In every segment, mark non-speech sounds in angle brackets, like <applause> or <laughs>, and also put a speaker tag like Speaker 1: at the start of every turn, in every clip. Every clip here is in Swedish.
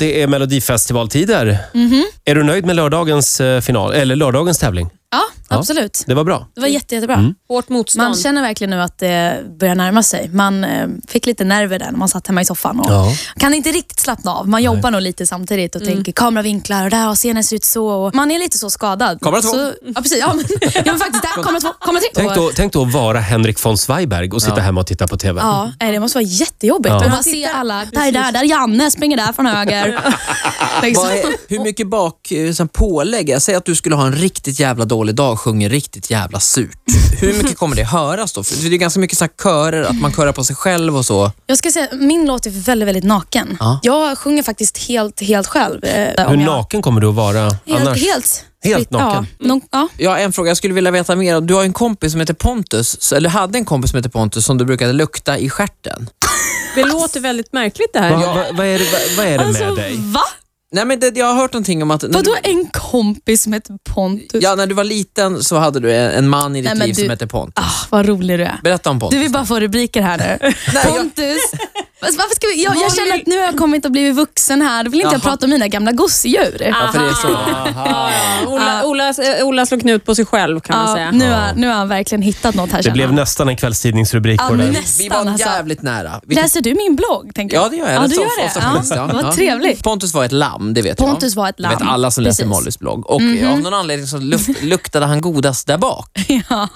Speaker 1: Det är Melodifestivaltider.
Speaker 2: Mhm.
Speaker 1: Är du nöjd med lördagens, eh, final, eller lördagens tävling?
Speaker 2: Ja, absolut.
Speaker 1: Det var bra.
Speaker 2: Det var jätte, jättebra.
Speaker 1: Mm.
Speaker 3: Hårt motstånd.
Speaker 2: Man känner verkligen nu att det börjar närma sig. Man eh, fick lite nerver där när man satt hemma i soffan och
Speaker 1: Ja.
Speaker 2: kan inte riktigt slappna av. Man jobbar nog lite samtidigt och tänker kameravinklar och där och scenen ser ut så. Och man är lite så skadad.
Speaker 1: Kamera två.
Speaker 2: Så, ja, precis. Ja, men, <laughs> ja, men faktiskt, där, kamera två, kamera tre.
Speaker 1: Tänk
Speaker 2: Och-
Speaker 1: då, tänk då att vara Henrik von Zweiberg och sitta hemma och titta på TV.
Speaker 2: Ja, nej, det måste vara jättejobbigt.
Speaker 1: Ja.
Speaker 2: Och man ser alla, där, där, där, Janne springer där
Speaker 1: <laughs>
Speaker 2: från höger. liksom.
Speaker 4: Vad är, hur mycket bak, eh, sen pålägg? Jag säger att du skulle ha en riktigt jävla dålig dag och sjunger riktigt jävla surt. Hur mycket kommer det höras då? För det är ganska mycket så här körer, att man körar på sig själv och så.
Speaker 2: Jag ska säga, min låt är väldigt, väldigt naken.
Speaker 4: Ja.
Speaker 2: Jag sjunger faktiskt helt, helt själv. eh,
Speaker 1: Hur
Speaker 2: om jag-
Speaker 1: naken kommer du att vara
Speaker 2: Helt,
Speaker 1: annars?
Speaker 2: helt,
Speaker 1: Helt naken.
Speaker 2: Ja, no, ja.
Speaker 4: Jag har en fråga, jag skulle vilja veta mer. Du har en kompis som heter Pontus, så- eller hade en kompis som heter Pontus som du brukade lukta i stjärten.
Speaker 3: Det låter väldigt märkligt det här.
Speaker 1: Va, va, vad är det, va, vad är det
Speaker 2: Alltså,
Speaker 1: med dig?
Speaker 2: va?
Speaker 4: Nej men det, jag har hört någonting om att...
Speaker 2: Vadå en kompis som heter Pontus?
Speaker 4: Ja, när du var liten så hade du en, en man i ditt
Speaker 2: Nej, men
Speaker 4: liv
Speaker 2: du-
Speaker 4: som hette Pontus.
Speaker 2: Ah, vad rolig du är.
Speaker 4: Berätta om Pontus.
Speaker 2: Du vill bara få rubriker här
Speaker 4: <laughs>
Speaker 2: nu.
Speaker 4: jag-
Speaker 2: Pontus. Fast Varför ska vi, jag, jag känner att nu har jag kommit och blivit vuxen här. Då vill inte jag
Speaker 4: Jaha.
Speaker 2: prata om mina gamla gosedjur.
Speaker 4: Ja, för det är så.
Speaker 3: Ja, Ola, Ola, eh, Ola slog knut på sig själv kan man
Speaker 2: Ja,
Speaker 3: säga.
Speaker 2: nu, har, nu har han verkligen hittat något här
Speaker 1: Det
Speaker 2: känner
Speaker 1: blev
Speaker 2: jag.
Speaker 1: nästan en kvällstidningsrubrik
Speaker 2: ja,
Speaker 1: på det. där.
Speaker 4: Vi
Speaker 2: nästan
Speaker 4: var
Speaker 2: alltså.
Speaker 4: jävligt nära. Vilket-
Speaker 2: Läser du min blogg? Tänker
Speaker 4: Ja, det gör jag.
Speaker 2: Ja,
Speaker 4: Rätt
Speaker 2: du
Speaker 4: så
Speaker 2: gör det.
Speaker 4: ofta faktiskt,
Speaker 2: Ja.
Speaker 4: ja.
Speaker 2: Vad
Speaker 4: Ja.
Speaker 2: trevligt. <laughs>
Speaker 4: Pontus var ett lamm, det vet
Speaker 2: Pontus
Speaker 4: jag.
Speaker 2: var ett
Speaker 4: Det vet
Speaker 2: lamm.
Speaker 4: alla som läser
Speaker 2: Precis. Mhm.
Speaker 4: Mollys blogg. Och av någon anledning så luft,
Speaker 2: <laughs>
Speaker 4: luktade han godast där bak.
Speaker 2: Ja.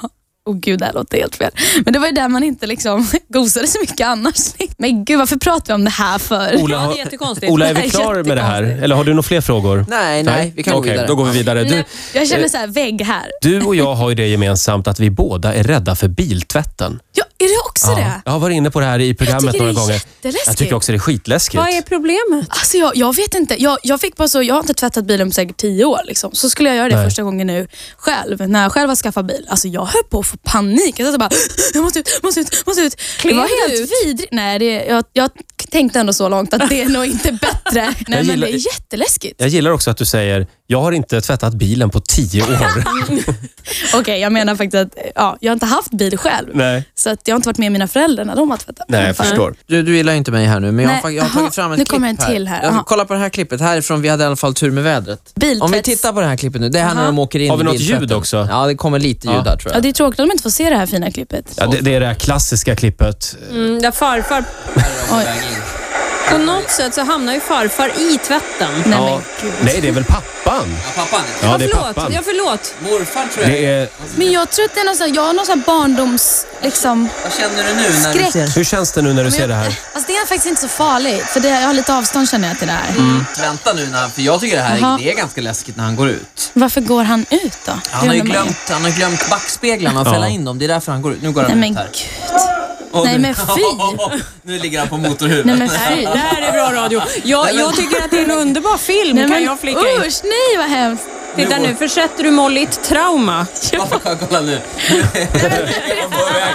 Speaker 2: Oh, gud, det här låter helt fel. Men det var ju där man inte liksom <laughs> gosade så mycket annars. Men gud, varför pratar vi om det här för?
Speaker 1: Ola,
Speaker 3: Ja, det är
Speaker 1: har-
Speaker 3: jättekonstigt.
Speaker 1: Ola, är
Speaker 2: Det
Speaker 1: vi
Speaker 2: är
Speaker 1: klar med det här?
Speaker 2: jättekonstigt.
Speaker 1: Eller har du några fler frågor?
Speaker 4: Nej, nej, vi kan gå
Speaker 1: Okej,
Speaker 4: vidare.
Speaker 1: Då går vi vidare. Du,
Speaker 2: Nej, jag känner så här vägg här.
Speaker 1: du och jag har ju det gemensamt att vi båda är rädda för biltvätten.
Speaker 2: Ja, är du också det?
Speaker 1: Jag har varit inne på det här i
Speaker 2: Jag
Speaker 1: programmet
Speaker 2: tycker
Speaker 1: några
Speaker 2: det är
Speaker 1: gånger.
Speaker 2: jätteläskigt.
Speaker 1: Jag tycker också det är skitläskigt.
Speaker 3: Vad är problemet?
Speaker 2: Alltså jag, jag vet inte. Jag, jag fick bara så, jag har inte tvättat bilen på säkert tio år. Liksom. Så skulle jag göra det
Speaker 1: Nej.
Speaker 2: första gången nu själv, när jag själv har skaffat bil. Alltså jag höll på att få panik. Jag satt och bara, jag måste ut, måste ut, måste ut.
Speaker 3: Klev
Speaker 2: det
Speaker 3: du
Speaker 2: var helt
Speaker 3: ut?
Speaker 2: vidrigt. Nej, det, jag, jag tänkte ändå så långt att det är nog
Speaker 1: <laughs>
Speaker 2: inte bättre. Nej, men
Speaker 1: gillar-
Speaker 2: det är jätteläskigt.
Speaker 1: Jag gillar också att du säger, jag har inte tvättat bilen på tio
Speaker 3: <laughs>
Speaker 1: år.
Speaker 2: Okej, jag menar faktiskt att ja, jag har inte haft bil själv.
Speaker 1: Nej.
Speaker 2: Så att jag har inte varit med mina föräldrar när de har tvättat.
Speaker 1: Nej, jag förstår.
Speaker 4: Du, du gillar ju inte mig här nu, men jag har,
Speaker 2: Nej,
Speaker 4: fa- jag har
Speaker 2: aha,
Speaker 4: tagit fram ett
Speaker 2: nu
Speaker 4: klipp
Speaker 2: kommer en till här,
Speaker 4: Jag-
Speaker 2: aha.
Speaker 4: Kolla på det här klippet härifrån, vi hade i alla fall tur med vädret.
Speaker 2: Biltvätts-
Speaker 4: Om vi tittar på det här klippet nu, det är här när
Speaker 2: Aha.
Speaker 4: de åker in
Speaker 1: Har vi
Speaker 4: i
Speaker 1: något
Speaker 4: biltvätten.
Speaker 1: ljud också?
Speaker 4: Ja, det kommer lite ljud
Speaker 1: Ja.
Speaker 4: där tror
Speaker 2: Ja,
Speaker 4: jag.
Speaker 2: det är tråkigt att de inte får se det här fina klippet.
Speaker 1: Ja, det, det är det här klassiska klippet.
Speaker 3: Mm, där farfar...
Speaker 2: Oj.
Speaker 3: På något sätt så hamnar ju farfar i tvätten.
Speaker 2: Nej,
Speaker 1: Ja.
Speaker 2: men, gud.
Speaker 1: Nej, det är väl pappan?
Speaker 4: pappan.
Speaker 1: Ja, det är
Speaker 3: förlåt.
Speaker 1: pappan.
Speaker 3: Ja, förlåt.
Speaker 4: Morfar tror
Speaker 1: Det är,
Speaker 2: men jag tror att det är någon sån, jag har någon sån barndoms... Liksom,
Speaker 4: Vad känner du nu
Speaker 2: när du Skräck. ser-
Speaker 1: hur känns det nu när du ser det här?
Speaker 2: Alltså det är faktiskt inte så farligt, för det, jag har lite avstånd känner jag till det här.
Speaker 3: Mm.
Speaker 4: Vänta nu, när, för jag tycker det här
Speaker 2: Aha.
Speaker 4: det är ganska läskigt när han går ut.
Speaker 2: Varför går han ut då?
Speaker 4: Han har ju
Speaker 2: Det undrar man
Speaker 4: glömt, han har glömt backspeglarna och
Speaker 1: Ja.
Speaker 4: fälla in dem. Det är därför han går ut. Nu går
Speaker 2: Nej
Speaker 4: han
Speaker 2: men
Speaker 4: ut här.
Speaker 2: gud.
Speaker 4: <laughs> Åh,
Speaker 2: nej,
Speaker 4: nu-
Speaker 2: men fy.
Speaker 4: nu ligger han på
Speaker 3: <laughs>
Speaker 4: motorhuven.
Speaker 2: Nej men fy.
Speaker 3: Det här är bra radio. Jag, jag tycker att det är en underbar film,
Speaker 2: Nej,
Speaker 3: kan
Speaker 2: men,
Speaker 3: jag flika in.
Speaker 2: usch, nej vad hemskt.
Speaker 3: Titta nu, försätter du Molly i ett trauma?
Speaker 4: Kolla, kolla nu. <laughs> Han var iväg.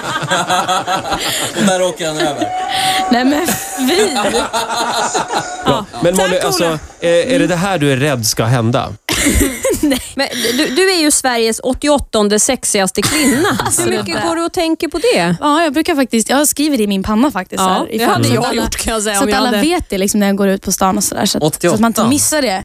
Speaker 4: och där åker han över.
Speaker 2: Nej men
Speaker 3: <laughs>
Speaker 2: fy.
Speaker 1: Ja. Men Molly,
Speaker 3: Tack,
Speaker 1: alltså,
Speaker 3: Ola.
Speaker 1: är, är det det här du är rädd ska hända?
Speaker 3: Men du, du är ju Sveriges 88 sexigaste kvinna. Hur mycket går du och tänker på det?
Speaker 2: Ja, jag brukar faktiskt, jag skriver det i min panna faktiskt.
Speaker 3: Ja,
Speaker 2: här,
Speaker 3: det hade jag gjort, kan jag säga,
Speaker 2: Så
Speaker 3: om
Speaker 2: att
Speaker 3: jag
Speaker 2: alla
Speaker 3: hade-
Speaker 2: vet det liksom, när jag går ut på stan och sådär. Så, att- så att man inte
Speaker 4: 88.
Speaker 2: missar det.